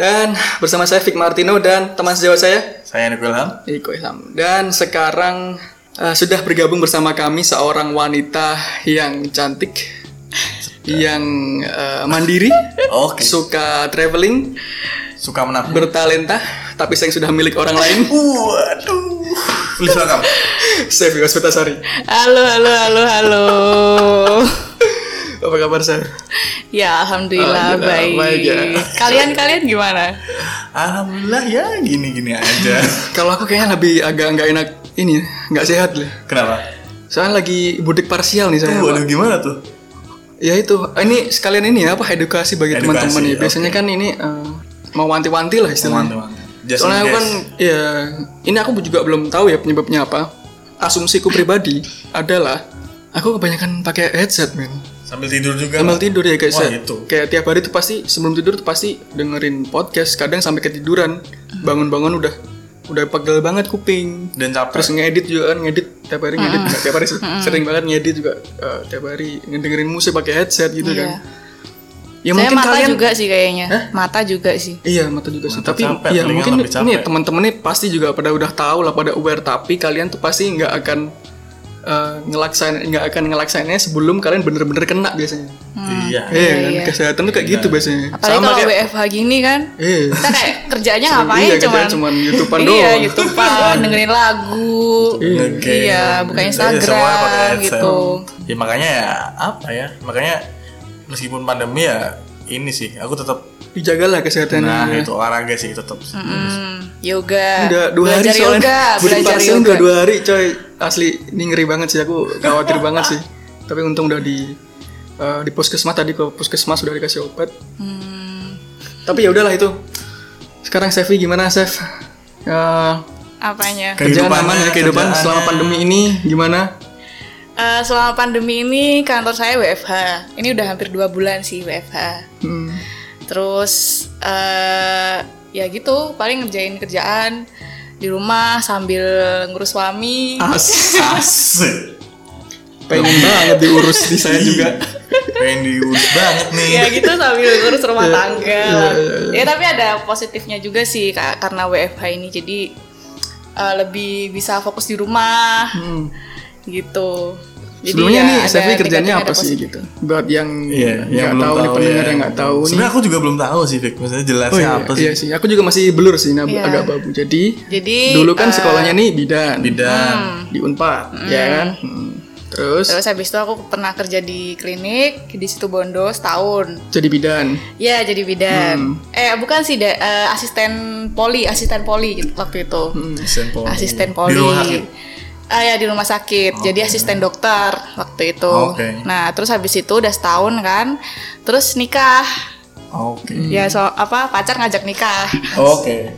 Dan bersama saya Vic Martino dan teman sejawat saya Saya Nick Wilhelm. Iko Ilham. Dan sekarang eh, sudah bergabung bersama kami seorang wanita yang cantik, yang eh, mandiri, Oke. suka traveling, Oh, Suka menabung. bertalenta, tapi sayang sudah milik orang lain. Waduh. Please welcome. Saya Vikas Petasari. Halo, halo, halo, halo. Apa kabar saya? ya, alhamdulillah, Alhamdulillah, baik. baik ya. Kalian kalian gimana? Alhamdulillah ya gini-gini aja. Kalau aku kayaknya lebih agak nggak enak ini, nggak sehat lah. Kenapa? Soalnya lagi budek parsial nih saya. Pak. Waduh gimana tuh? Ya itu, ini sekalian ini ya apa edukasi bagi Edukasi, teman-teman ya. oke. Biasanya kan ini eh, mewanti-wanti lah istilahnya. Teman-teman. Just Soalnya in aku case. kan ya ini aku juga belum tahu ya penyebabnya apa. Asumsiku pribadi adalah aku kebanyakan pakai headset, men. sambil tidur juga. Sambil tidur ya guys. ya. Wah, gitu. Kayak tiap hari tuh pasti sebelum tidur tuh pasti dengerin podcast, kadang sampai ketiduran. Bangun-bangun udah udah pegel banget kuping. Dan capek. Terus ngedit juga kan ngedit tiap hari ngedit juga tiap hari se- sering banget ngedit juga eh, tiap hari ngedengerin musik pakai headset gitu Iya. kan. Ya Saya mungkin mata kalian juga sih kayaknya. Mata juga sih. Iya mata juga sih. Mata Tapi capek, ya telinga mungkin lebih capek. ini teman-teman nih pasti juga pada udah tahu lah pada aware tapi kalian tuh pasti nggak akan eh, ngelaksain nggak akan ngelaksainnya sebelum kalian bener-bener kena biasanya. Iya. Iya, kan? kesehatan tuh kayak gitu biasanya. Apalagi kalau kayak WFH gini kan. Iya. Kita kayak kerjaannya ngapain iya, cuman kerjaan cuman YouTubean Iya, doang. YouTubean, dengerin lagu. Nge-game. Iya, Jadi semuanya buka pakai Instagram headset. gitu. Ya makanya ya apa ya? Makanya meskipun pandemi ya ini sih aku tetap dijagalah kesehatan. nah itu olahraga sih tetap. Hmm, yoga. Udah dua hari belajar soalnya. yoga, Budek belajar parsial yoga. udah dua hari coy. Asli ini ngeri banget sih aku khawatir banget sih. Tapi untung udah di eh, di puskesmas tadi ke puskesmas sudah dikasih obat. Mm, Tapi ya udahlah itu. Sekarang Sefi gimana Sef? Eh, Apanya? kerjaan aman ya Kehidupannya, kehidupan kerjaannya. selama pandemi ini gimana? Eh, selama pandemi ini kantor saya WFH. Ini udah hampir dua bulan sih WFH. Hmm. Terus eh ya gitu, paling ngerjain kerjaan di rumah sambil ngurus suami. As Asik. pengen banget diurus Iya. di saya juga. Pengen diurus banget nih. Ya gitu sambil ngurus rumah tangga. iya, iya, Ya tapi ada positifnya juga sih Kak, karena WFH ini jadi eh, lebih bisa fokus di rumah Hmm. gitu. Jadi Sebelumnya ya nih ada Sefi kerjanya negatifnya, apa ada sih positif. gitu? Buat yang Iya, nggak yang belum tahu, nih tahu pendengar ya. yang nggak tahu nih. Sebenarnya aku juga belum tahu sih, Vic. Maksudnya jelasnya iya, apa sih? Iya sih, aku juga masih blur sih, nah, Iya. agak babu. Jadi, Jadi, dulu kan eh, sekolahnya nih bidan, Bidan. di Unpad, ya kan? Hmm. Terus, Terus habis itu aku pernah kerja di klinik di situ Bondo setahun. jadi bidan. Ya jadi Hmm. bidan. Eh bukan sih da- eh, asisten poli, asisten poli gitu waktu itu. Asisten poli. Asisten poli. Hmm. Di rumah sakit? Oh, Ah ya di rumah sakit. Jadi asisten dokter waktu itu. Oke. Nah, terus habis itu udah setahun kan. Terus nikah. Oke. Hmm. Ya so apa pacar ngajak nikah. Oke.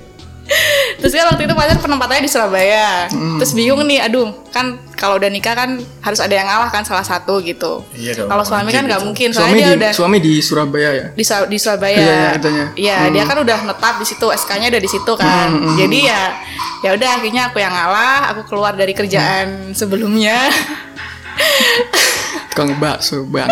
Terus kan waktu itu pacar penempatannya di Surabaya. Hmm. Terus bingung nih, aduh, kan kalau udah nikah kan harus ada yang ngalah kan salah satu gitu. Iya dong, Kalau suami wajib kan nggak itu. mungkin, soalnya Suami dia di, udah suami di Surabaya ya. di, Sa- Iya, di iya, Surabaya. katanya. Iya, Hmm. dia kan udah netap di situ, SK-nya udah di situ kan. Jadi ya ya udah akhirnya aku yang ngalah, aku keluar dari Hmm. kerjaan sebelumnya. Tukang bakso, bang.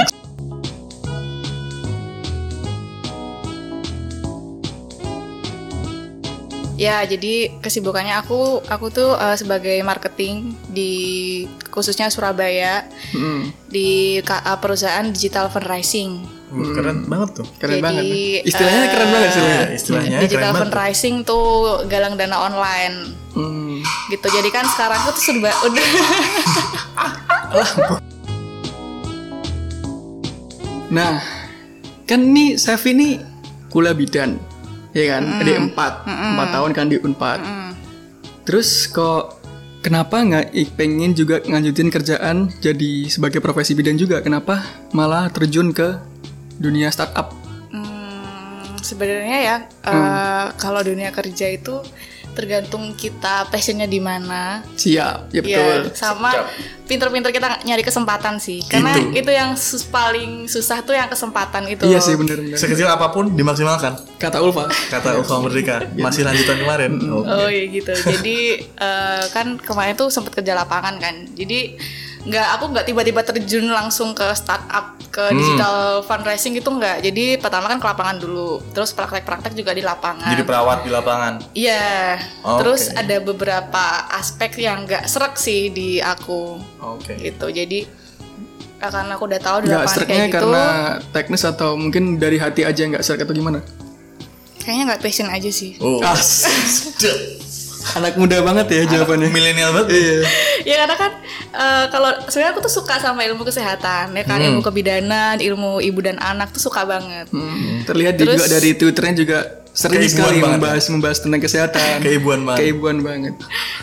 ya, jadi kesibukannya aku aku tuh eh, sebagai marketing di khususnya Surabaya Hmm, di KA eh, perusahaan Digital Fundraising. Wah, Hmm. Keren banget tuh. Keren Jadi, banget. nih. Istilahnya eh, keren banget istilahnya. Ya, istilahnya Digital keren banget. tuh. Fundraising tuh galang dana online Hmm. gitu. Jadi kan sekarang aku tuh sudah udah Nah, kan nih Sefi nih kuliah bidan, ya kan? Di empat, empat tahun kan di unpad. Terus kok kenapa nggak i- pengen juga nganjutin kerjaan jadi sebagai profesi bidan juga? Kenapa malah terjun ke dunia startup? Hmm, sebenarnya ya Hmm. eh, kalau dunia kerja itu tergantung kita passionnya di mana Siap, ya betul. ya sama pinter-pinter kita nyari kesempatan sih karena itu yang sus- paling susah tuh yang kesempatan itu Gitu. Iya loh. sih bener-bener. Sekecil apapun dimaksimalkan. Kata Ulfa. Kata Ulfa Merdeka. Iya. Masih lanjutan kemarin. Hmm. Oke. oh iya gitu jadi eh, kan kemarin tuh sempat kerja lapangan kan jadi nggak aku nggak tiba-tiba terjun langsung ke startup ke Hmm. digital fundraising itu enggak. Jadi pertama kan ke lapangan dulu, terus praktek-praktek juga di lapangan. Jadi perawat di lapangan. Iya, Oke. terus ada beberapa aspek yang nggak srek sih di aku Oke. gitu. Jadi eh, karena aku udah tahu di Nggak lapangan streknya kayak gitu, karena teknis atau mungkin dari hati aja nggak strek atau gimana? kayaknya nggak passion aja sih. Oh. Ah, anak muda banget ya jawabannya. Milenial banget. Iya. ya karena kan eh, kalau sebenarnya aku tuh suka sama ilmu kesehatan ya kan ilmu kebidanan, ilmu ibu dan anak tuh suka banget. Hmm, terlihat di- juga Terus- dari twitternya juga sering Keibuan sekali banget. membahas membahas tentang kesehatan. Keibuan banget. Keibuan banget.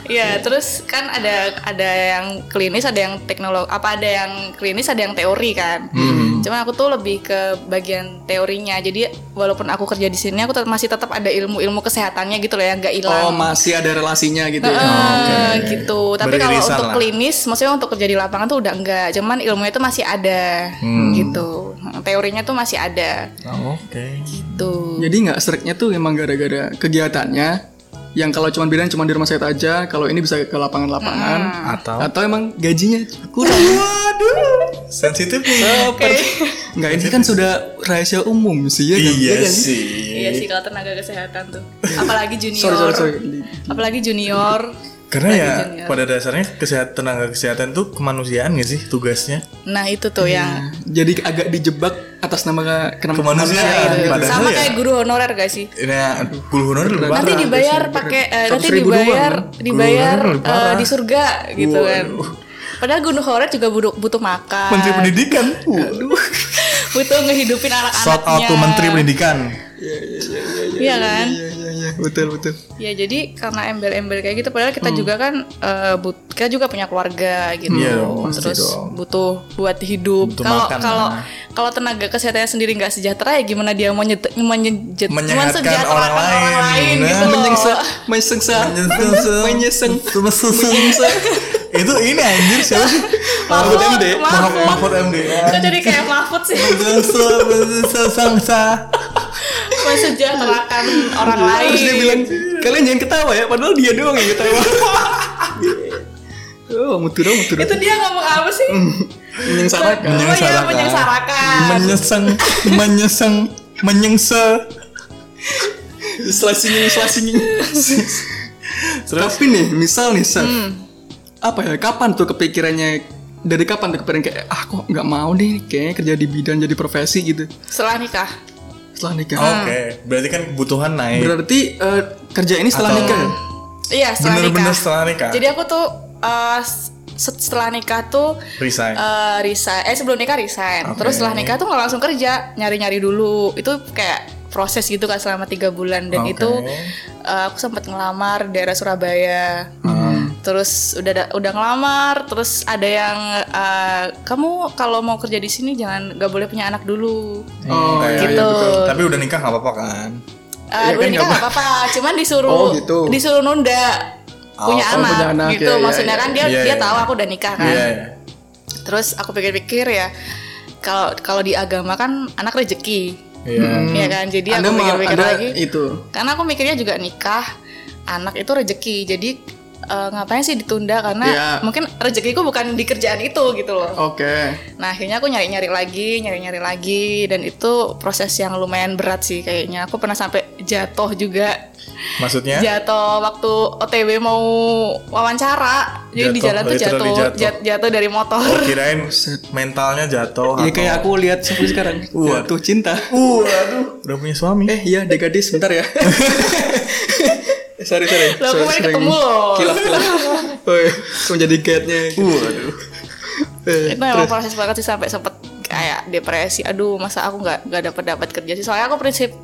Iya, terus kan ada ada yang klinis, ada yang teknologi, apa ada yang klinis, ada yang teori kan. Cuma aku tuh lebih ke bagian teorinya. Jadi walaupun aku kerja di sini, aku tet- masih tetap ada ilmu-ilmu kesehatannya gitu loh yang nggak hilang. Oh masih ada relasinya gitu ya. Eh, gitu. Tapi kalau Beririsan untuk lah. klinis, maksudnya untuk kerja di lapangan tuh udah enggak. Cuman ilmunya tuh masih ada, gitu. Teorinya tuh masih ada, Oh, Oke. gitu. Jadi nggak streknya tuh emang gara-gara kegiatannya yang kalau cuma bilang cuma di rumah sakit aja, kalau ini bisa ke lapangan-lapangan. Atau Atau emang gajinya kurang? Waduh. sensitif. Nggak ini kan sudah rahasia umum sih ya kan? Iya kan? sih. Iya sih kalau tenaga kesehatan tuh, apalagi junior, Sorry sorry sorry. apalagi junior. Karena ya junior. pada dasarnya kesehatan tenaga kesehatan tuh kemanusiaan gak sih tugasnya? Nah itu tuh yang Jadi agak dijebak atas nama kenapa Kemanusiaan. gitu. Padahal sama ya- kayak guru honorer gak sih? Nah, guru honorer lebih Nanti parah. dibayar pakai eh, nanti 100.000 doang, dibayar kan? dibayar Guru honorer eh, parah. di surga gitu kan. Padahal guru honorer juga butuh, butuh makan, Menteri Pendidikan. Aduh. butuh ngehidupin Shout out anak-anaknya. to Menteri Pendidikan. Iya kan? Iya iya iya betul betul. Ya jadi karena embel-embel kayak gitu padahal Hmm. kita juga kan eh, but, kita juga punya keluarga gitu. Iya dong, pasti Terus dong. butuh buat hidup. Butuh Kalau makan, kalau nah. kalau tenaga kesehatannya sendiri nggak sejahtera ya gimana dia mau nyet, menyejet- Menyehatkan mensejahterakan orang lain. lain gitu Nah. loh. Menyengsa, menyengsa, menyeseng, Menyeseng. Itu ini anjir siapa sih? Mahfud, MD. Mahfud. Mahfud- Mahfud MD. Kok jadi kayak Mahfud sih Menyeseng, menyeseng, sangsa. mensejahterakan orang lain. Terus dia bilang, kalian jangan ketawa ya, padahal dia doang yang ketawa. oh, muturo, muturo. itu dia ngomong apa sih? Menyengsarakan. Oh iya, Menyengsarakan. menyengsarakan. Menyeseng, menyeseng, menyengse. Selasingin, selasingin. Tapi nih, misal nih, Seth, Hmm. apa ya, kapan tuh kepikirannya, dari kapan tuh kepikiran kayak, ah kok nggak mau deh, kayaknya kerja di bidan jadi profesi gitu, Setelah nikah. setelah nikah. Oh. Ah. Oke, berarti kan kebutuhan naik. Berarti eh, kerja ini setelah Atau- nikah ya? Iya, setelah Bener-bener nikah. setelah nikah. Jadi aku tuh eh, se- setelah nikah tuh Resign. eh, resign. Eh sebelum nikah resign. Oke. Terus setelah nikah tuh nggak langsung kerja, nyari-nyari dulu. Itu kayak proses gitu kan selama tiga bulan dan Oke. itu eh, aku sempat ngelamar di daerah Surabaya. Ah. Terus udah da- udah ngelamar, terus ada yang eh, kamu kalau mau kerja di sini jangan nggak boleh punya anak dulu. Oh, iya, Kayak- gitu. iya, betul. Tapi udah nikah nggak apa-apa kan? Eh, Iya, udah kan, nikah nggak nggak apa-apa, cuman disuruh Oh, gitu. disuruh nunda Oh, punya, oh, anak, punya anak, gitu. iya, iya, Maksudnya kan dia iya, dia iya. tahu aku udah nikah kan. Iya. Terus aku pikir-pikir ya kalau kalau di agama kan anak rezeki, Iya. Hmm. ya kan. Jadi Anda iya. aku mau pikir-pikir ada lagi. itu. Karena aku mikirnya juga nikah anak itu rezeki. Jadi eh, ngapain sih ditunda karena Iya. mungkin rezekiku bukan di kerjaan itu gitu loh. Oke. Nah akhirnya aku nyari-nyari lagi, nyari-nyari lagi, dan itu proses yang lumayan berat sih kayaknya. Aku pernah sampai jatuh juga, Maksudnya? jatuh waktu OTW mau wawancara, jadi di Jatuh, jalan tuh literally jatuh, jatuh. jat- jatuh dari motor. Oh, kirain mentalnya Ya jatuh. atau- kayak aku lihat seperti sekarang. Wah. Jatuh cinta. Uh, aduh, udah punya suami. Eh iya DKD sebentar ya. sorry sorry. Lah, aku Sorry, kemarin sering ketemu loh. Kilap kilap. Woi, kok jadi guide-nya. Uh, aduh. Eh, itu memang proses banget sih sampai sempet kayak depresi aduh masa aku nggak nggak dapat dapat kerja sih soalnya aku prinsip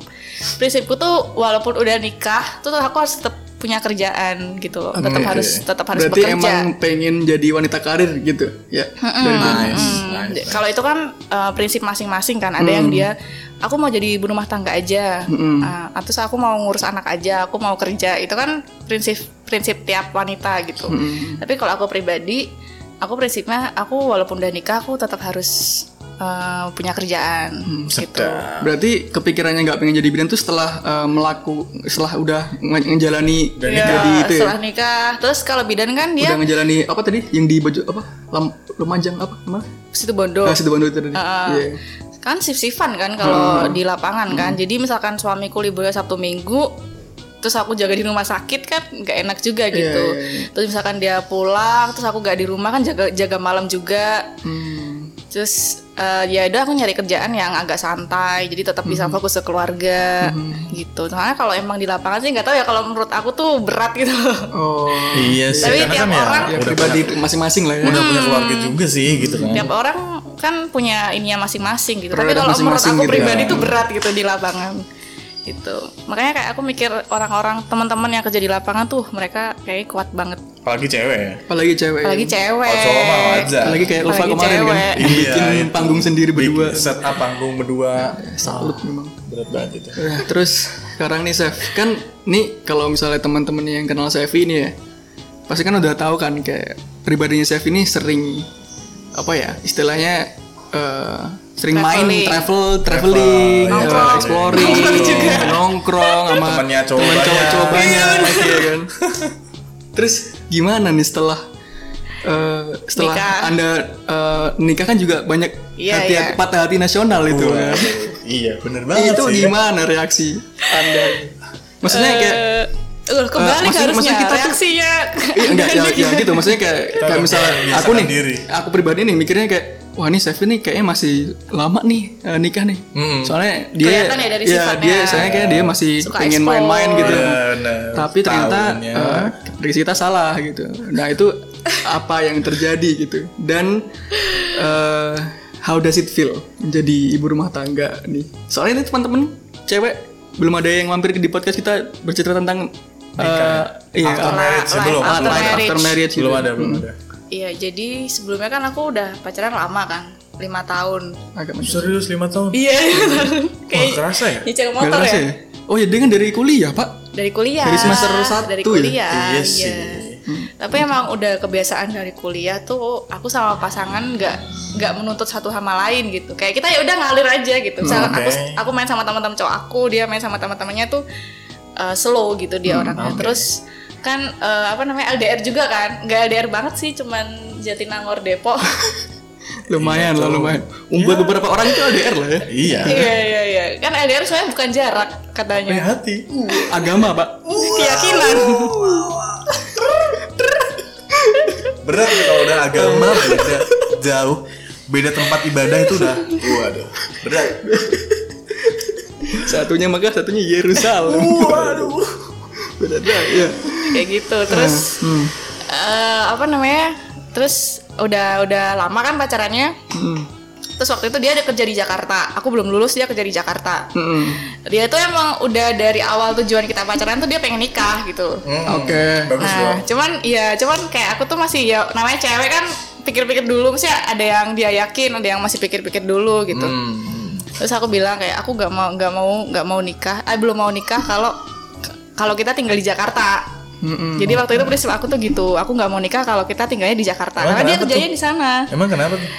prinsipku tuh walaupun udah nikah tuh aku harus tetap punya kerjaan gitu loh Hmm, tetap Oke. harus tetap harus iya. Berarti bekerja emang pengen jadi wanita karir gitu ya. Dari dulu. Nice. Iya Hmm, nice. Kalau itu kan uh, prinsip masing-masing kan. Ada yang dia aku mau jadi ibu rumah tangga aja. Uh, atau aku mau ngurus anak aja, aku mau kerja. Itu kan prinsip prinsip tiap wanita gitu. Tapi kalau aku pribadi, aku prinsipnya aku walaupun udah nikah aku tetap harus eh, punya kerjaan gitu. Sedap. Berarti kepikirannya nggak pengen jadi bidan tuh setelah eh, melaku setelah udah nge- ngejalani Dan Iya, jadi itu ya. setelah nikah. Terus kalau bidan kan dia Udah ngejalani apa tadi yang di baju apa? Lam, lumajang apa? Mana? situ bondo. Nah, situ Bandung itu tadi. Ah, Iya. Hmm. kan sif-sifan kan kalau di lapangan kan jadi misalkan suamiku liburnya sabtu minggu terus aku jaga di rumah sakit kan nggak enak juga gitu iya, iya. terus misalkan dia pulang terus aku nggak di rumah kan jaga jaga malam juga Hmm. terus eh, ya udah aku nyari kerjaan yang agak santai jadi tetap bisa Hmm. fokus ke keluarga gitu soalnya kalau emang di lapangan sih nggak tahu ya kalau menurut aku tuh berat gitu loh. Oh. Iya sih, karena Tapi tiap kan ya orang- Ya udah pribadi masing-masing lah ya. punya, udah punya keluarga juga sih gitu kan. Hmm. tiap orang kan punya ininya masing-masing gitu tapi Prioritas kalau menurut masing-masing aku gitu pribadi ya. tuh berat gitu di lapangan gitu makanya kayak aku mikir orang-orang teman-teman yang kerja di lapangan tuh mereka kayak kuat banget Iya. Apalagi cewek ya. Apalagi cewek. apalagi cewek Oh, Kalau cowok mah wajar. Apalagi kayak Ulfa Apalagi kemarin kan. cewek. Yang Iya, bikin itu. panggung sendiri berdua. Big set up panggung berdua. Salut memang. Berat banget itu. Eh, terus sekarang nih Chef, kan nih kalau misalnya teman-teman yang kenal Chef ini ya, pasti kan udah tahu kan kayak pribadinya Chef ini sering apa ya istilahnya eh, sering main Traveling. travel, traveling, Travel, eh, nongkrong. exploring, Nongkrong juga. nongkrong sama Temennya cowok temen banyak. cowok-cowok banyak, iya kan. Terus gimana nih setelah eh, setelah Nikah. anda eh, nikah kan juga banyak Iya, hati, iya. patah hati nasional itu kan. Waduh, iya, bener banget itu sih. gimana reaksi anda? Maksudnya kayak Eh, uh, Eh, maksud- kebalik harusnya maksudnya kita tuh- reaksinya iya, enggak ya, ya gitu maksudnya kayak kayak harus misalnya membiasakan aku nih diri. aku pribadi nih mikirnya kayak wah ini Sevi nih kayaknya masih lama nih eh, nikah nih. Mm-mm. Soalnya dia iya, Kelihatan ya dari sifatnya. dia soalnya kayak dia masih Suka pengen explore. main-main gitu. Iya, bener. Tapi ternyata Tahunnya. eh, prediksi kita salah gitu. Nah, itu apa yang terjadi gitu. Dan eh, how does it feel menjadi ibu rumah tangga nih? Soalnya ini teman-teman cewek belum ada yang mampir di podcast kita bercerita tentang eh, iya, ya? After apa- marriage sih, life belum, Ah, life belum after ada. marriage. after marriage gitu. Belum ada, belum ada. iya jadi sebelumnya kan aku udah pacaran lama kan lima tahun Agak menyesal. Serius 5 tahun? iya Wah, kayak kerasa ya? nyicil Nggak motor kerasa ya ya? Oh ya dia kan dari kuliah pak dari kuliah Dari semester satu dari ya? kuliah Iya iya sih. tapi emang udah kebiasaan dari kuliah tuh aku sama pasangan nggak nggak menuntut satu sama lain gitu kayak kita ya udah ngalir aja gitu misalkan Oke. aku aku main sama teman-teman cowok aku dia main sama teman-temannya tuh uh, slow gitu dia orangnya oke. terus kan uh, apa namanya LDR juga kan nggak LDR banget sih cuman Jatinangor Depok Lumayan lah tuh. lumayan Buat beberapa orang itu LDR lah ya Iya. iya iya iya kan LDR soalnya bukan jarak Punya katanya hati. Agama pak keyakinan Berat nih kalau udah agama beda jauh. Beda tempat ibadah itu udah waduh. Berat. Satunya Mekah satunya Yerusalem Waduh. Benar ya kayak gitu terus hmm. eh, apa namanya terus udah udah lama kan pacarannya Hmm. terus waktu itu dia ada kerja di Jakarta aku belum lulus dia kerja di Jakarta Hmm. dia itu emang udah dari awal tujuan kita pacaran tuh dia pengen nikah gitu Hmm, Oke Ah. Hmm, Bagus dong. nah cuman ya cuman kayak aku tuh masih ya namanya cewek kan pikir-pikir dulu Maksudnya ada yang dia yakin ada yang masih pikir-pikir dulu gitu Hmm. terus aku bilang kayak aku nggak mau nggak mau nggak mau nikah eh belum mau nikah kalau kalau kita tinggal di Jakarta Mm-mm. jadi waktu itu prinsip aku tuh gitu, aku nggak mau nikah kalau kita tinggalnya di Jakarta. Emang Karena dia kenapa kerjanya di sana. Emang kenapa tuh?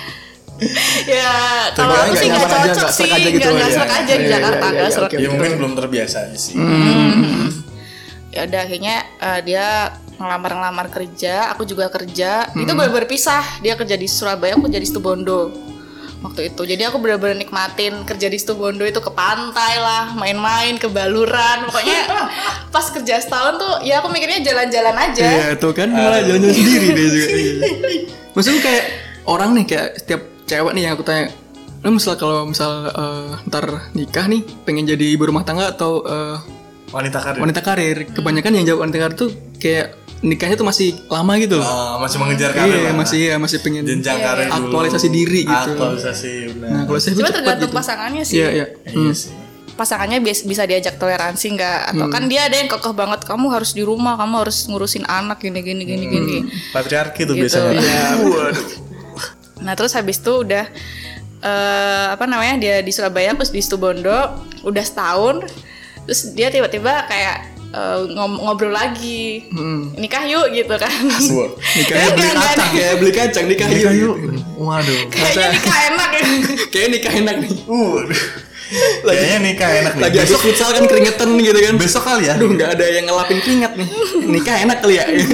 ya kalau Terus aku sih nggak nggak nyaman aja, nggak cocok sih, serk aja gitu nggak nggak ya. serk aja di Iya, iya, Jakarta, iya, nggak iya, serk. oke. Ya mungkin belum terbiasa aja sih. Hmm. Ya udah akhirnya eh, dia ngelamar-ngelamar kerja, aku juga kerja. Itu Hmm. benar-benar pisah. Dia kerja di Surabaya, aku kerja di Situbondo waktu itu. Jadi aku benar-benar nikmatin kerja di Situbondo itu ke pantai lah, main-main ke Baluran. Pokoknya pas kerja setahun tuh ya aku mikirnya jalan-jalan aja. Iya tuh kan malah jalan-jalan sendiri dia juga iya. Maksudnya kayak orang nih kayak setiap cewek nih yang aku tanya Lu misal kalau misal eh, ntar nikah nih pengen jadi ibu rumah tangga atau eh, Wanita karir. wanita karir kebanyakan yang jawab wanita karir tuh kayak nikahnya tuh masih lama gitu loh Ah, masih mengejar karir. iya lah. masih ya masih pengen jenjang karir dulu. Aktualisasi diri gitu. Aktualisasi benar. nah kalau saya Cuma cepat tergantung gitu pasangannya sih. iya iya Iya sih. pasangannya bias- bisa diajak toleransi nggak Hmm. atau kan dia ada yang kokoh banget kamu harus di rumah kamu harus ngurusin anak gini gini gini gini Patriarki tuh Gitu. biasanya. Iya. Waduh. nah terus habis itu udah eh, apa namanya dia di Surabaya terus di Situbondo udah setahun terus dia tiba-tiba kayak eh, ngom- ngobrol lagi Hmm. nikah yuk gitu kan Iya, Wah. Nikahnya Enggak, beli enggak, kacang enggak. ya, beli kacang nikah Nikah yuk. yuk. Waduh. kayaknya nikah enak ya Kayaknya nikah enak nih. Uh. Kayaknya nikah enak nih. Lagi besok besok futsal kan keringetan gitu kan. besok kali ya. Aduh, nggak ada yang ngelapin keringat nih. Nikah enak kali ya. kayak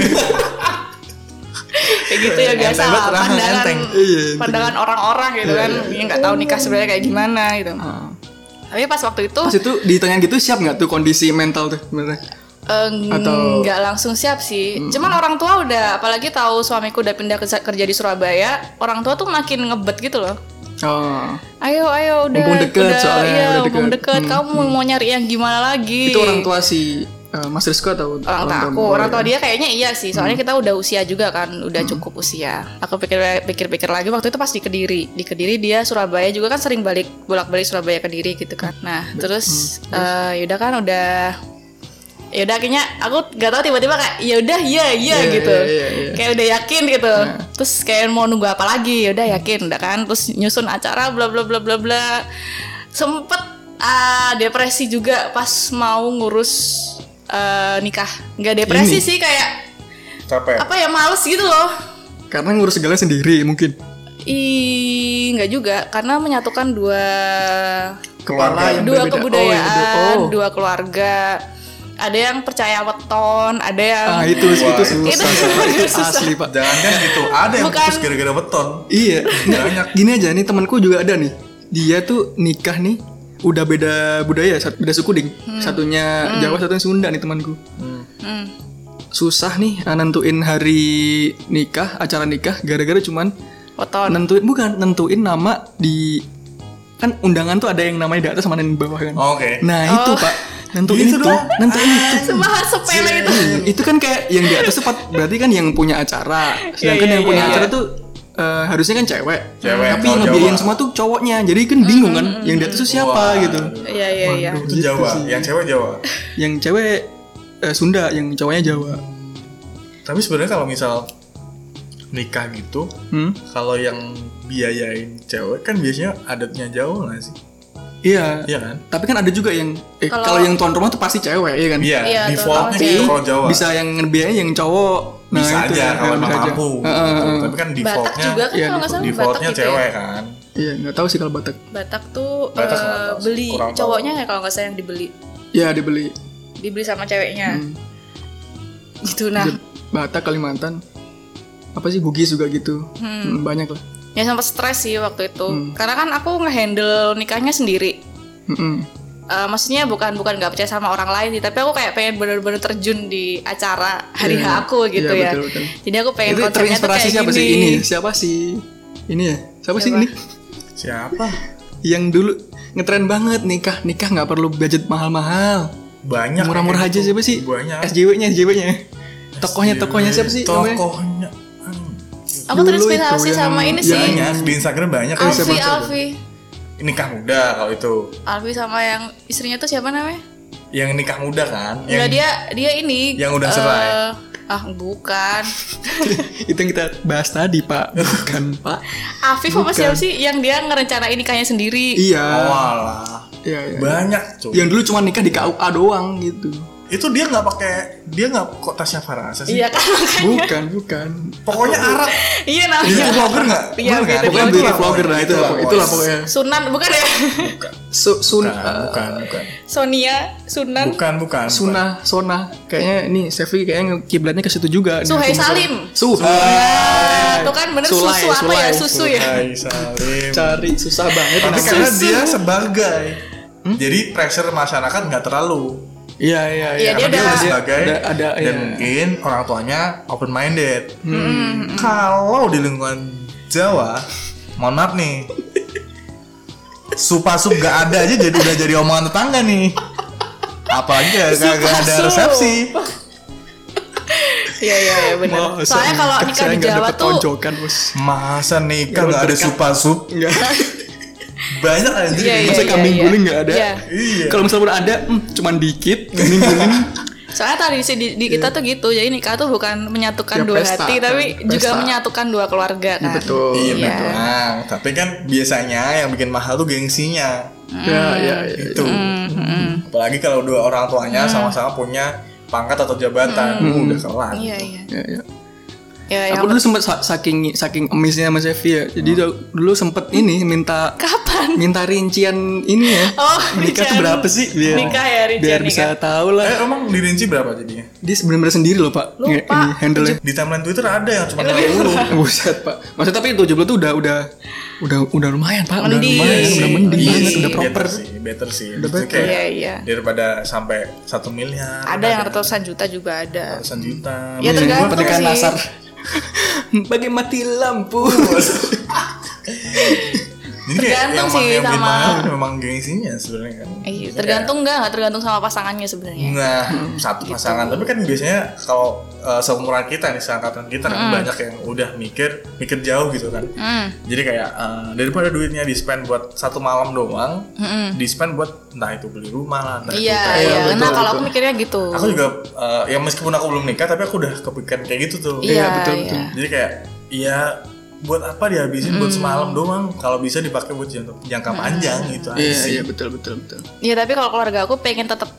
gitu ya Enteng biasa banget, rahang, pandangan enteng. Iya, enteng. pandangan orang-orang gitu kan yang nggak tahu nikah sebenarnya kayak gimana gitu tapi pas waktu itu Ah. Pas itu di tengah gitu siap nggak tuh kondisi mental tuh sebenarnya? eh, Atau- Hmm. nggak langsung siap sih cuman orang tua udah apalagi tahu suamiku udah pindah kerja, kerja di Surabaya orang tua tuh makin ngebet gitu loh Oh. ayo ayo udah Mumpung deket udah, soalnya, iya, udah mumpung deket. Hmm, deket kamu mau nyari yang gimana lagi Itu orang tua si eh, Mas Rizko atau orang tua aku mertua orang tua ya? dia kayaknya iya sih soalnya Hmm. kita udah usia juga kan udah cukup usia aku pikir pikir pikir lagi waktu itu pas di kediri di kediri dia Surabaya juga kan sering balik bolak balik Surabaya kediri gitu kan nah terus hmm, eh, yaudah kan udah yaudah akhirnya aku gak tahu tiba-tiba kayak yaudah ya ya Iya, gitu iya, iya, iya. kayak udah yakin gitu Nah. terus kayak mau nunggu apa lagi yaudah yakin udah kan terus nyusun acara bla bla bla bla bla sempet ah, depresi juga pas mau ngurus eh, nikah nggak depresi Ini? sih kayak Capek. apa ya males gitu loh Karena ngurus segala sendiri mungkin. Ih, nggak juga karena menyatukan dua Keluarga yang Ah, dua berbeda. kebudayaan Oh, iya, dua keluarga ada yang percaya weton ada yang Ah itu Wah, itu itu- susah, itu Pak. itu susah. asli pak. Jangan kan gitu. Ada yang Bukan. putus gara-gara beton. Iya. nggak, Banyak. Gini aja nih temanku juga ada nih. Dia tuh nikah nih udah beda budaya, sat- beda suku ding. Satunya Jawa, satunya Sunda nih temanku. Hmm. Susah nih ah, nentuin hari nikah, acara nikah gara-gara cuman weton nentuin bukan nentuin nama di kan undangan tuh ada yang namanya di atas sama yang di bawah kan. Oke. Nah, itu Pak. Nentuin Oh. Gitu itu, doang? nentuin itu. Semahal sepele itu Hmm, itu kan kayak yang di atas tepat berarti kan yang punya acara sedangkan iya, yang punya iya. acara tuh eh, harusnya kan cewek, Cewek, tapi kalau yang ngebiayain Jawa. semua tuh cowoknya jadi kan bingung kan yang di atas tuh siapa Wah. gitu iya iya iya Itu Jawa, yang cewek Jawa. yang cewek eh, Sunda yang cowoknya Jawa Tapi sebenarnya kalau misal nikah gitu, hmm? kalau yang biayain cewek kan biasanya adatnya Jawa nggak sih? iya Iya kan? tapi kan ada juga yang eh, Kalau- kalau yang tuan rumah tuh pasti cewek iya kan Iya, Iya, defaultnya tapi gitu kalau Jawa. bisa yang ngebiayain yang cowok Nah, bisa itu aja ya, kalau bisa emang aja. mampu. Heeh, heeh. Tapi kan Batak defaultnya juga kan iya, kalau nggak salah Batak defaultnya gitu cewek ya. kan. iya nggak tahu sih kalau Batak Batak tuh Batak eh, nggak tahu sih, beli kurang tahu. cowoknya ya kalau nggak salah yang dibeli ya dibeli dibeli sama ceweknya Hmm. gitu nah Batak Kalimantan apa sih Bugis juga gitu Hmm, banyak lah ya sempat stres sih waktu itu Hmm. karena kan aku ngehandle nikahnya sendiri Mm-mm. Eh, maksudnya bukan bukan nggak percaya sama orang lain sih tapi aku kayak pengen bener-bener terjun di acara hari Iya. H aku gitu Iya, ya betul, betul. jadi aku pengen itu konsepnya tuh terinspirasi kayak siapa gini sih ini siapa sih ini ya siapa, sih Siapa? ini Siapa? yang dulu ngetren banget nikah nikah nggak perlu budget mahal-mahal Banyak. murah-murah kayak aja gitu. siapa sih Banyak. Iya, SJW-nya SJW-nya tokohnya tokohnya siapa sih namanya? Tokohnya. Hmm. aku Dulu terinspirasi itu ya Iya, sama yang- ini sih Banyak di Instagram banyak kan Alfi Alfi nikah muda kalau itu. Alfi sama yang istrinya tuh siapa namanya Yang nikah muda kan? Enggak Yang Iya, dia dia ini yang udah eh, cerai. ah bukan itu yang kita bahas tadi pak bukan pak Afif apa siapa sih yang dia ngerencanain nikahnya sendiri iya Walah. iya iya. Banyak cuy. yang dulu cuma nikah di KUA doang gitu Itu dia nggak pakai dia nggak kok Tasya Farasa sih. iya kan bukan bukan Pokoknya Arab. Dia iya namanya vlogger nggak? Iya, Bener kan? beauty pokoknya beauty vlogger lah itu boy. itulah pokoknya Sunan bukan ya Su- sun eh, Bukan, bukan, bukan. Kan Sonia Sunan Bukan, bukan. Sunah, Sona, kayaknya ini Sefi kayaknya kiblatnya ke situ juga. Nah, Suhai Salim. Suhai. Ah, tuh kan bener Sulai, susu apa ya Sulai. susu ya Hai, Salim. Cari susah banget. Tapi nama. karena dia sebagai Hmm? jadi pressure masyarakat nggak terlalu Iya iya iya. karena Ya, dia Iya, dia udah- udah sebagai ada- ada, dan iya. mungkin orang tuanya open minded. Kalau di lingkungan Jawa, mohon maaf nih, supasup gak ada aja jadi udah jadi omongan tetangga nih. Apalagi gak, gak- gak ada Supasup. resepsi. iya iya iya bener Masa soalnya kalau nikah Oh, saya di nggak Jawa dapet tuh tonjokan, bos. Masa nikah Ya, gak ada berkat. supasup? Enggak. Banyak anjir. Iya, iya. Masa kambing iya. guling nggak ada. Iya. Iya. Kalau misalnya pun ada, hmm, cuman dikit. Nah. Kambing guling. soalnya tradisi di, di kita tuh gitu jadi nikah tuh bukan Iya. menyatukan Ya, dua pesta, hati kan. tapi juga Pesta. menyatukan dua keluarga kan Betul. Iya Iya. memang. Tapi kan biasanya yang bikin mahal tuh gengsinya. Ya ya. ya. Hmm. Gitu. Mm-hmm. Iya. Itu. Apalagi kalau dua orang tuanya sama-sama punya pangkat atau jabatan Uh, udah kelar Iya iya. Ya, ya. Ya yang Aku dulu sempet sa- saking saking amazed-nya sama Sevi ya. Jadi Hmm. dulu- dulu sempet ini minta kapan? minta rincian ini ya. Kan. Oh, menikah tuh rincian. berapa sih? Biar, Nikah ya, rincian biar bisa tahu lah. eh emang dirinci berapa jadinya Dia sebenarnya sendiri loh pak. Lupa. Nge- Ini handle-nya. di timeline Twitter ada yang Iya. cuma 60 Buset pak. Maksudnya tapi 70 tuh udah udah udah udah lumayan pak. Udah Mending. lumayan, udah mending Iya banget, sih, udah proper. better sih better sih Udah better. Maksudnya kayak Iya iya. daripada sampai satu miliar Ada yang ratusan juta juga ada. ratusan juta Iya, Ya, Maksud tergantung gua Pernikahan sih. nasar. Bagi mati lampu. Jadi kayak Tergantung yang, sih yang main sama- mahal memang gengsinya sebenarnya kan. Eh, Iya. Maksudnya tergantung Gitu. nggak? Nggak tergantung sama pasangannya kayak, sebenarnya. Nah, satu pasangan. Tapi kan biasanya kalau uh, seumuran kita nih, seangkatan kita kan Mm. banyak yang udah mikir, mikir jauh gitu kan. Hmm. Jadi kayak uh, daripada duitnya di spend buat satu malam doang, di spend buat entah itu beli rumah lah, entah Hmm. Iya itu kayak- iya. betul, Nah kalau betul. aku mikirnya gitu. Aku juga uh, ya meskipun aku belum nikah, tapi aku udah kepikiran kayak gitu tuh. Iya betul, iya. betul. Jadi kayak ya buat apa dihabisin buat Hmm. semalam doang kalau bisa dipakai buat jangka, jangka panjang gitu aja Iya sih. iya betul betul betul. Iya tapi kalau keluarga aku pengen tetap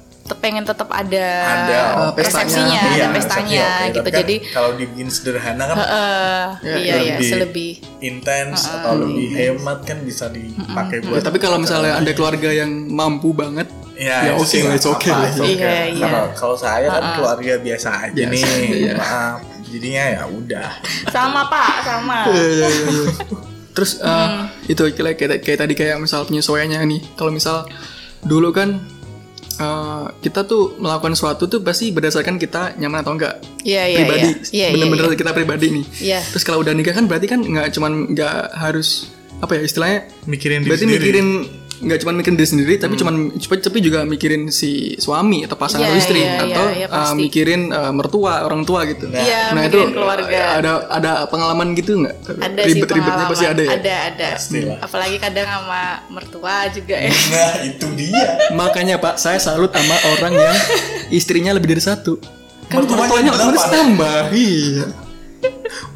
pengen tetap ada, Ada, oh, Eh, pestanya. Iya, resepsinya, Iya. ada pestanya resepsi, oke. gitu. Tapi kan Jadi kalau dibikin sederhana kan eh, Ya, iya iya lebih- selebih. intens atau lebih hemat kan bisa dipakai Ya, buat tapi kalau misalnya ada keluarga yang mampu banget, ya itu oke sih lah, nggak it's okay apa-apa, lah. it's okay. Iya, iya. Kalau- Kalau saya kan keluarga biasa aja Biasa, nih. iya. Maaf. Jadinya ya udah. Sama Pak, sama. Iya, iya, iya, iya. Terus eh, Hmm. itu kayak, kayak kayak tadi kayak misal penyesuaiannya nih. Kalau misal dulu kan eh, kita tuh melakukan sesuatu tuh pasti berdasarkan kita nyaman atau enggak Iya iya pribadi, iya. Iya iya. bener-bener kita pribadi nih. Iya. Terus kalau udah nikah kan berarti kan nggak cuman nggak harus apa ya istilahnya Mikirin diri berarti sendiri. Hmm. mikirin nggak cuman mikirin diri sendiri tapi cuman tapi juga mikirin si suami atau pasangan Iya, atau istri iya, atau iya, eh, iya, pasti. mikirin eh, mertua orang tua gitu Iya, mikirin keluarga. eh, ada ada pengalaman gitu nggak Ada sih ribet-ribetnya pengalaman. pasti ada ya Ada ada. Pastilah. Apalagi kadang sama mertua juga Iya, ya. Nah, itu dia. makanya pak saya salut sama orang yang istrinya lebih dari satu kan mertuanya Mertuanya otomatis berapa? tambah iya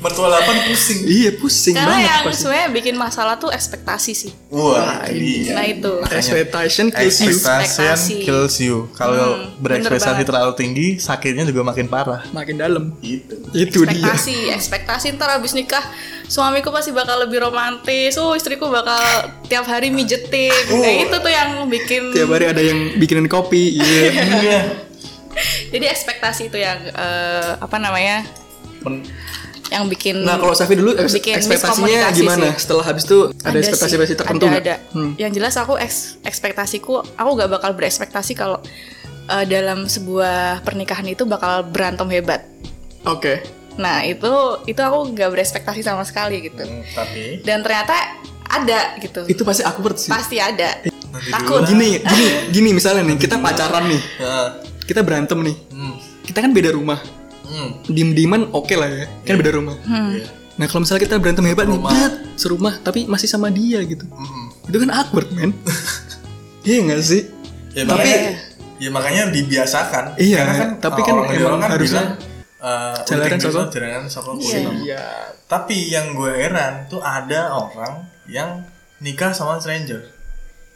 Mertua 8 pusing. iya pusing Karena banget yang pasti sebenarnya bikin masalah tuh ekspektasi sih. Wah, iya. Iya. ini. Nah itu. expectation kills you Ekspektasi. Hmm, Expectation kills you. Kalau berekspektasi bener banget. terlalu tinggi, sakitnya juga makin parah. makin dalam Gitu. itu dia Ekspektasi, ekspektasi ntar abis nikah suamiku pasti bakal lebih romantis. Oh istriku bakal tiap hari mijetin. Kayak itu tuh yang bikin. Oh. tiap hari ada yang bikinin kopi iya Iya. Jadi ekspektasi itu yang eh, apa namanya? Men- Yang bikin. Nah kalau Safi dulu eks- Bikin ekspektasinya miskomunikasi gimana? sih. Setelah habis itu ada, sih, ekspektasi-ekspektasi tertentu ada, nggak? ada. Hmm. Yang jelas aku eks- ekspektasiku aku gak bakal berekspektasi kalau eh, dalam sebuah pernikahan itu bakal berantem hebat. Oke. Nah itu itu aku gak berekspektasi sama sekali gitu. Hmm, tapi Dan ternyata ada gitu. Itu pasti awkward sih. Pasti ada. Nanti Takut. dulu Gini, gini, gini misalnya nih kita pacaran nih, Heeh. kita berantem nih. Hmm. Kita kan beda rumah. Hmm. Diem-dieman oke lah ya, kan beda rumah. Iya. Nah kalau misalnya kita berantem hebat nih, Rumah. bret, serumah tapi masih sama dia gitu. Mm-mm. Itu kan awkward men. Iya nggak sih? Ya, Tapi- makanya, ya makanya dibiasakan. Iya, Karena tapi kan orang emang Jawa kan harusnya bilang, eh, jalanan uting soko. dosa, jalanan soko Iya. kuno. Tapi yang gue heran tuh ada orang yang nikah sama stranger.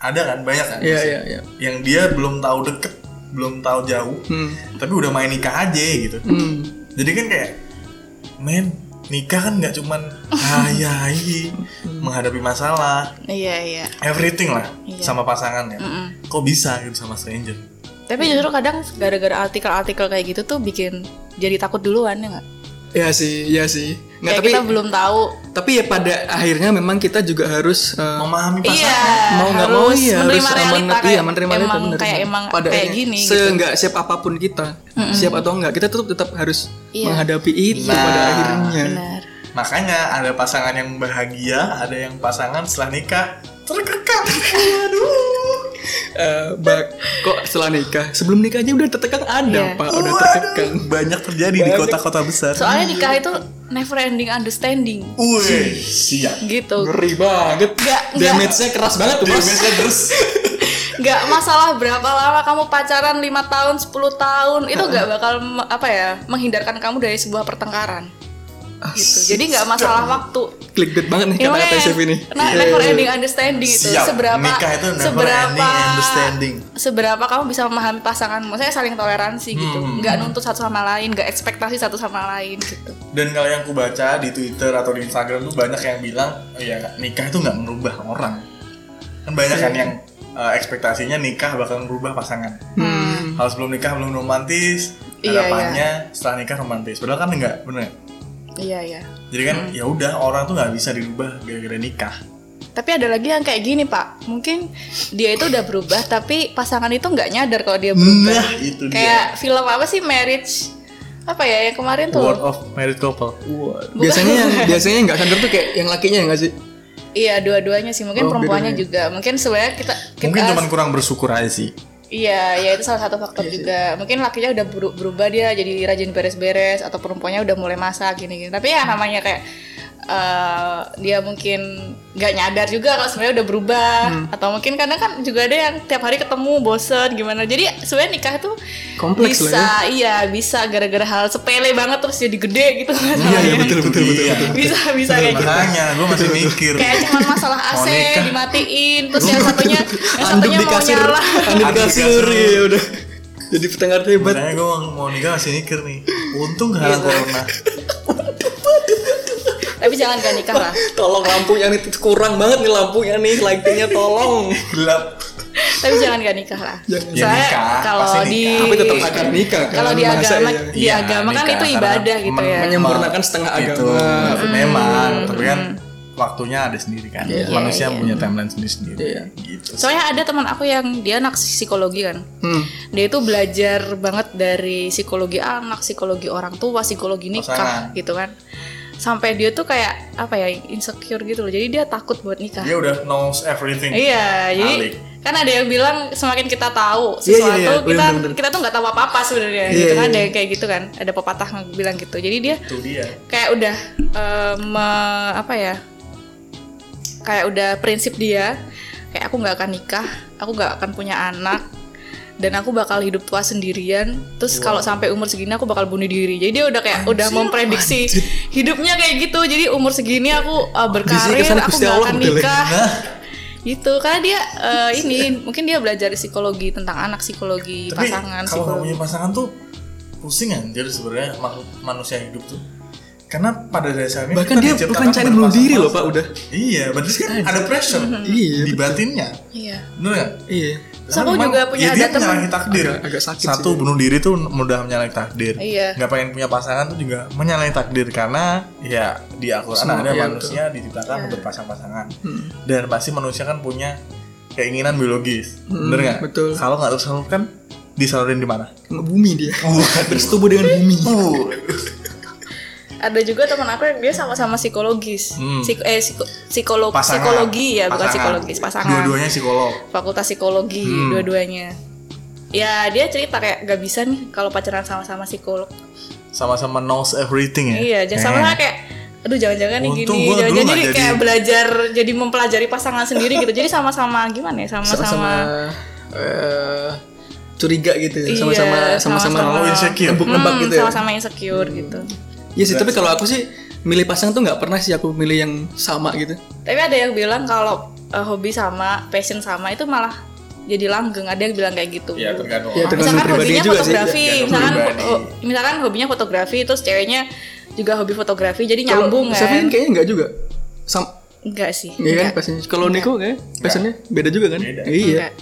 Ada kan banyak kan? Iya, iya, iya. Yang dia belum tahu deket, belum tahu jauh, Hmm. tapi udah main nikah aja gitu. Hmm. Jadi kan kayak men nikah kan nggak cuman hayai menghadapi masalah Iya iya. everything lah Iya. sama pasangan ya. Kok bisa gitu sama stranger? Tapi Iya. justru kadang gara-gara artikel-artikel kayak gitu tuh bikin jadi takut duluan ya nggak? Ya sih, ya sih. Nggak, Kayak tapi kita belum tahu. tapi ya pada akhirnya memang kita juga harus eh, Memahami pasangan. Iya. mau nggak mau harus ya harus menerima realita amanat- kayak iya menerima realita, emang bener. kayak emang Pada kayak akhirnya, gini. gitu. se nggak siap apapun kita siap atau enggak kita tetap tetap harus Iya. menghadapi itu Nah, pada akhirnya Benar. Makanya ada pasangan yang bahagia, ada yang pasangan setelah nikah terkekang. Aduh. Eh, Bak, kok setelah nikah sebelum nikah aja udah tertekan ada Iya. pak udah Waduh, tertekan Banyak terjadi di Banyak. kota-kota besar. Soalnya nikah itu never ending understanding Wih, siap. gitu. ngeri banget Nggak, nggak. damage-nya keras banget tuh bos Damage-nya terus. Gak masalah berapa lama kamu pacaran 5 tahun, 10 tahun Itu gak bakal me- apa ya menghindarkan kamu dari sebuah pertengkaran gitu. Jadi nggak masalah waktu. Ah, Clickbait banget nih Eh, Iya, kata-kata makanya, Chef ini. iya, nah, never ending understanding itu Siap. Gitu, seberapa Nikah itu never seberapa ending understanding. seberapa kamu bisa memahami pasanganmu. Saya saling toleransi gitu. Hmm. Nggak nuntut satu sama lain, nggak ekspektasi satu sama lain gitu. Dan kalau yang aku baca di Twitter atau di Instagram tuh banyak yang bilang, "Oh ya nikah itu nggak merubah orang. Kan banyak kan yang eh, ekspektasinya nikah bakal merubah pasangan. Hmm. Kalau sebelum nikah belum romantis, Iya, harapannya setelah nikah romantis. Padahal kan enggak, bener. nggak? Iya, iya. Jadi kan Hmm. ya udah orang tuh nggak bisa dirubah gara-gara nikah. Tapi ada lagi yang kayak gini, Pak. Mungkin dia itu udah berubah, tapi pasangan itu nggak nyadar kalau dia berubah. Nah, itu dia. kayak film apa sih Marriage? Apa ya yang kemarin tuh? Word of married couple. Biasanya yang biasanya yang nggak sadar tuh kayak yang lakinya yang nggak sih? Iya, dua-duanya sih. Mungkin Oh, perempuannya beda-beda. juga. Mungkin sebenarnya kita kita ya. Mungkin cuman kurang bersyukur aja sih. Iya, ya itu salah satu faktor juga. Mungkin lakinya udah beru- berubah dia jadi rajin beres-beres atau perempuannya udah mulai masak gini-gini. Tapi ya namanya kayak eh, dia mungkin nggak nyadar juga kalau sebenarnya udah berubah Hmm. atau mungkin kadang kan juga ada yang tiap hari ketemu bosen gimana. Jadi sebenarnya nikah tuh Kompleks bisa, lah ya. iya bisa gara-gara hal sepele banget terus jadi gede gitu. Iya, masalahnya. betul, Itu betul, dia. betul, bisa bisa kayak gitu. Makanya gue masih mikir. Kayak cuman masalah Mau AC nikah. dimatiin terus yang satunya yang Anduk satunya di mau kasur, nyala. anduk di kasur, ya udah. Jadi petengah hebat. Makanya gue mau nikah masih mikir nih. Untung Iya. karena corona. Tapi jangan gak nikah lah. Tolong lampunya nih kurang banget nih lampunya nih lightingnya tolong. Gelap. tapi jangan gak nikah lah. Jangan. Ya, Soalnya nikah, kalau pasti di nikah. Tapi tetap akan nikah kan. kalau di masa agama ya? di Iya, agama kan nikah, itu karena ibadah men- gitu ya. Menyem- Menyempurnakan setengah Gitu. agama. Memang, tapi kan waktunya ada sendiri kan. Iya. Manusia Iya, punya timeline sendiri-sendiri. Iya. Gitu. Soalnya ada teman aku yang dia anak psikologi kan. Hmm. Dia itu belajar banget dari psikologi anak, psikologi orang tua, psikologi nikah Pasangan. gitu kan. Sampai dia tuh kayak apa ya insecure gitu loh. Jadi dia takut buat Iya. nikah. Dia udah knows everything. Iya, jadi Alik. kan ada yang bilang semakin kita Iya, tahu iya, sesuatu iya, kita bener-bener. kita tuh nggak tahu apa apa sebenarnya Iya, gitu kan iya. ada yang kayak gitu kan ada pepatah yang bilang gitu jadi dia Itu dia. kayak udah eh, me- apa ya kayak udah prinsip dia kayak aku nggak akan nikah aku nggak akan punya anak dan aku bakal hidup tua sendirian terus kalau sampai umur segini aku bakal bunuh diri jadi dia udah kayak udah memprediksi hidupnya kayak gitu jadi umur segini aku eh, berkarir kesana aku Gusti nggak Allah akan modelnya. nikah Nah, gitu karena dia eh, ini mungkin dia belajar psikologi tentang anak psikologi tapi kalau nggak pasangan psikologi punya pasangan tuh pusing anjir sebenarnya makhluk manusia hidup tuh. Karena pada dasarnya Bahkan kita dia diciptakan bukan cari bunuh diri loh, Pak, berpasang-pasang. udah. Iya, berarti kan ada pressure Mm-hmm. Iya, di batinnya. iya Bener nggak? Iya. Terus aku juga punya ya, dia ada teman- menyalahi takdir. Agak- agak sakit Satu sih. bunuh diri tuh mudah menyalahi takdir. Iya. Nggak pengen punya pasangan tuh juga menyalahi takdir karena ya di Al-Qur'an Semua, ada iya, manusia diciptakan berpasang-pasangan. Hmm. Dan pasti manusia kan punya keinginan biologis. Hmm, Bener nggak? betul. Kalau nggak tersalurkan disalurin di mana? Kena bumi dia. Waduh. Bersetubuh dengan bumi. Uh, ada juga teman aku yang dia sama-sama psikologis Hmm. Psik- eh, psiko- psikolo- Pasangan. psikologi ya bukan Pasangan. psikologis pasangan Dua-duanya psikolog. fakultas psikologi Hmm. dua-duanya ya dia cerita kayak gak bisa nih kalau pacaran sama-sama psikolog Sama-sama knows everything ya. iya jangan sama Eh. kayak aduh jangan-jangan nih Untung gua gini dulu jangan-jangan nggak jadi jadi- kayak belajar jadi mempelajari pasangan sendiri gitu jadi sama-sama gimana ya Sama-sama sama-sama eh, curiga gitu. Iya, Sama-sama sama-sama sama-sama- insecure. Nebak-nebak Hmm, gitu ya. sama-sama insecure gitu Iya sih, tapi kalau aku sih milih pasangan tuh nggak pernah sih aku milih yang sama gitu. Tapi ada yang bilang kalau eh, hobi sama, passion sama itu malah jadi langgeng. Ada yang bilang kayak gitu. Iya, tergantung Iya, orang. tergantung misalkan pribadinya hobinya juga sih. fotografi, Tergantung misalkan pribadi. ho- misalkan hobinya fotografi terus ceweknya juga hobi fotografi jadi nyambung Kalau Sevin kan? kayaknya nggak juga. Sam Enggak sih. Iya kan pastinya. Kalau Niko kayak passionnya beda juga kan? Beda. Iya. Enggak.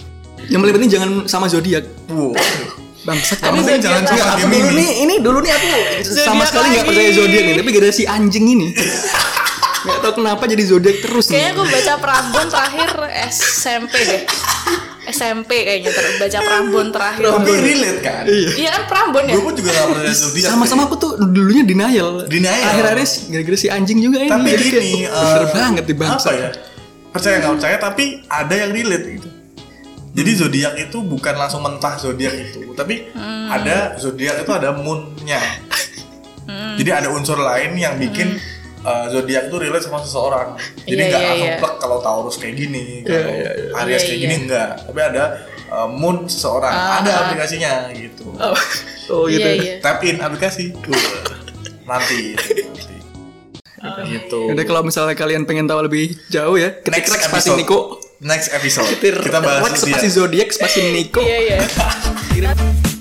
Yang paling penting jangan sama zodiak. oh, Waduh. Bangsat kamu. Kamu sih jangan Enggak, cuma aku Gemini. dulu nih, ini dulu nih aku sama Zodiak sekali nggak lagi. percaya zodiak nih, tapi gara si anjing ini. Gak tau kenapa jadi zodiak terus nih. Kayaknya gue baca Prambon terakhir SMP deh. SMP kayaknya ter- baca Prambon terakhir. Tapi relate kan? Iya kan Prambon ya? Gue pun juga gak percaya zodiak. ya. Sama-sama aku tuh dulunya denial. Denial. Akhir-akhirnya si- gara-gara si anjing juga ini. tapi Jadi kayak, gini "Oh, eh, bener banget di bangsa. apa ya percaya nggak percaya tapi ada yang relate gitu jadi zodiak itu bukan langsung mentah zodiak itu tapi ada zodiak itu ada moonnya jadi ada unsur lain yang bikin eh, zodiak itu relate sama seseorang jadi Iya, nggak iya, langsung iya. plek kalau Taurus kayak gini kalau iya, iya. Aries kayak Iya, iya. gini enggak tapi ada eh, moon seseorang Ah, ada ah. aplikasinya gitu Oh gitu. Iya, iya. tap in aplikasi Wah, nanti, nanti. gitu. Jadi kalau misalnya kalian pengen tahu lebih jauh ya, ketik Next rek spasi episode. Niko. Next episode Ketik kita rek bahas spasi zodiak. zodiak spasi Niko. Iya iya.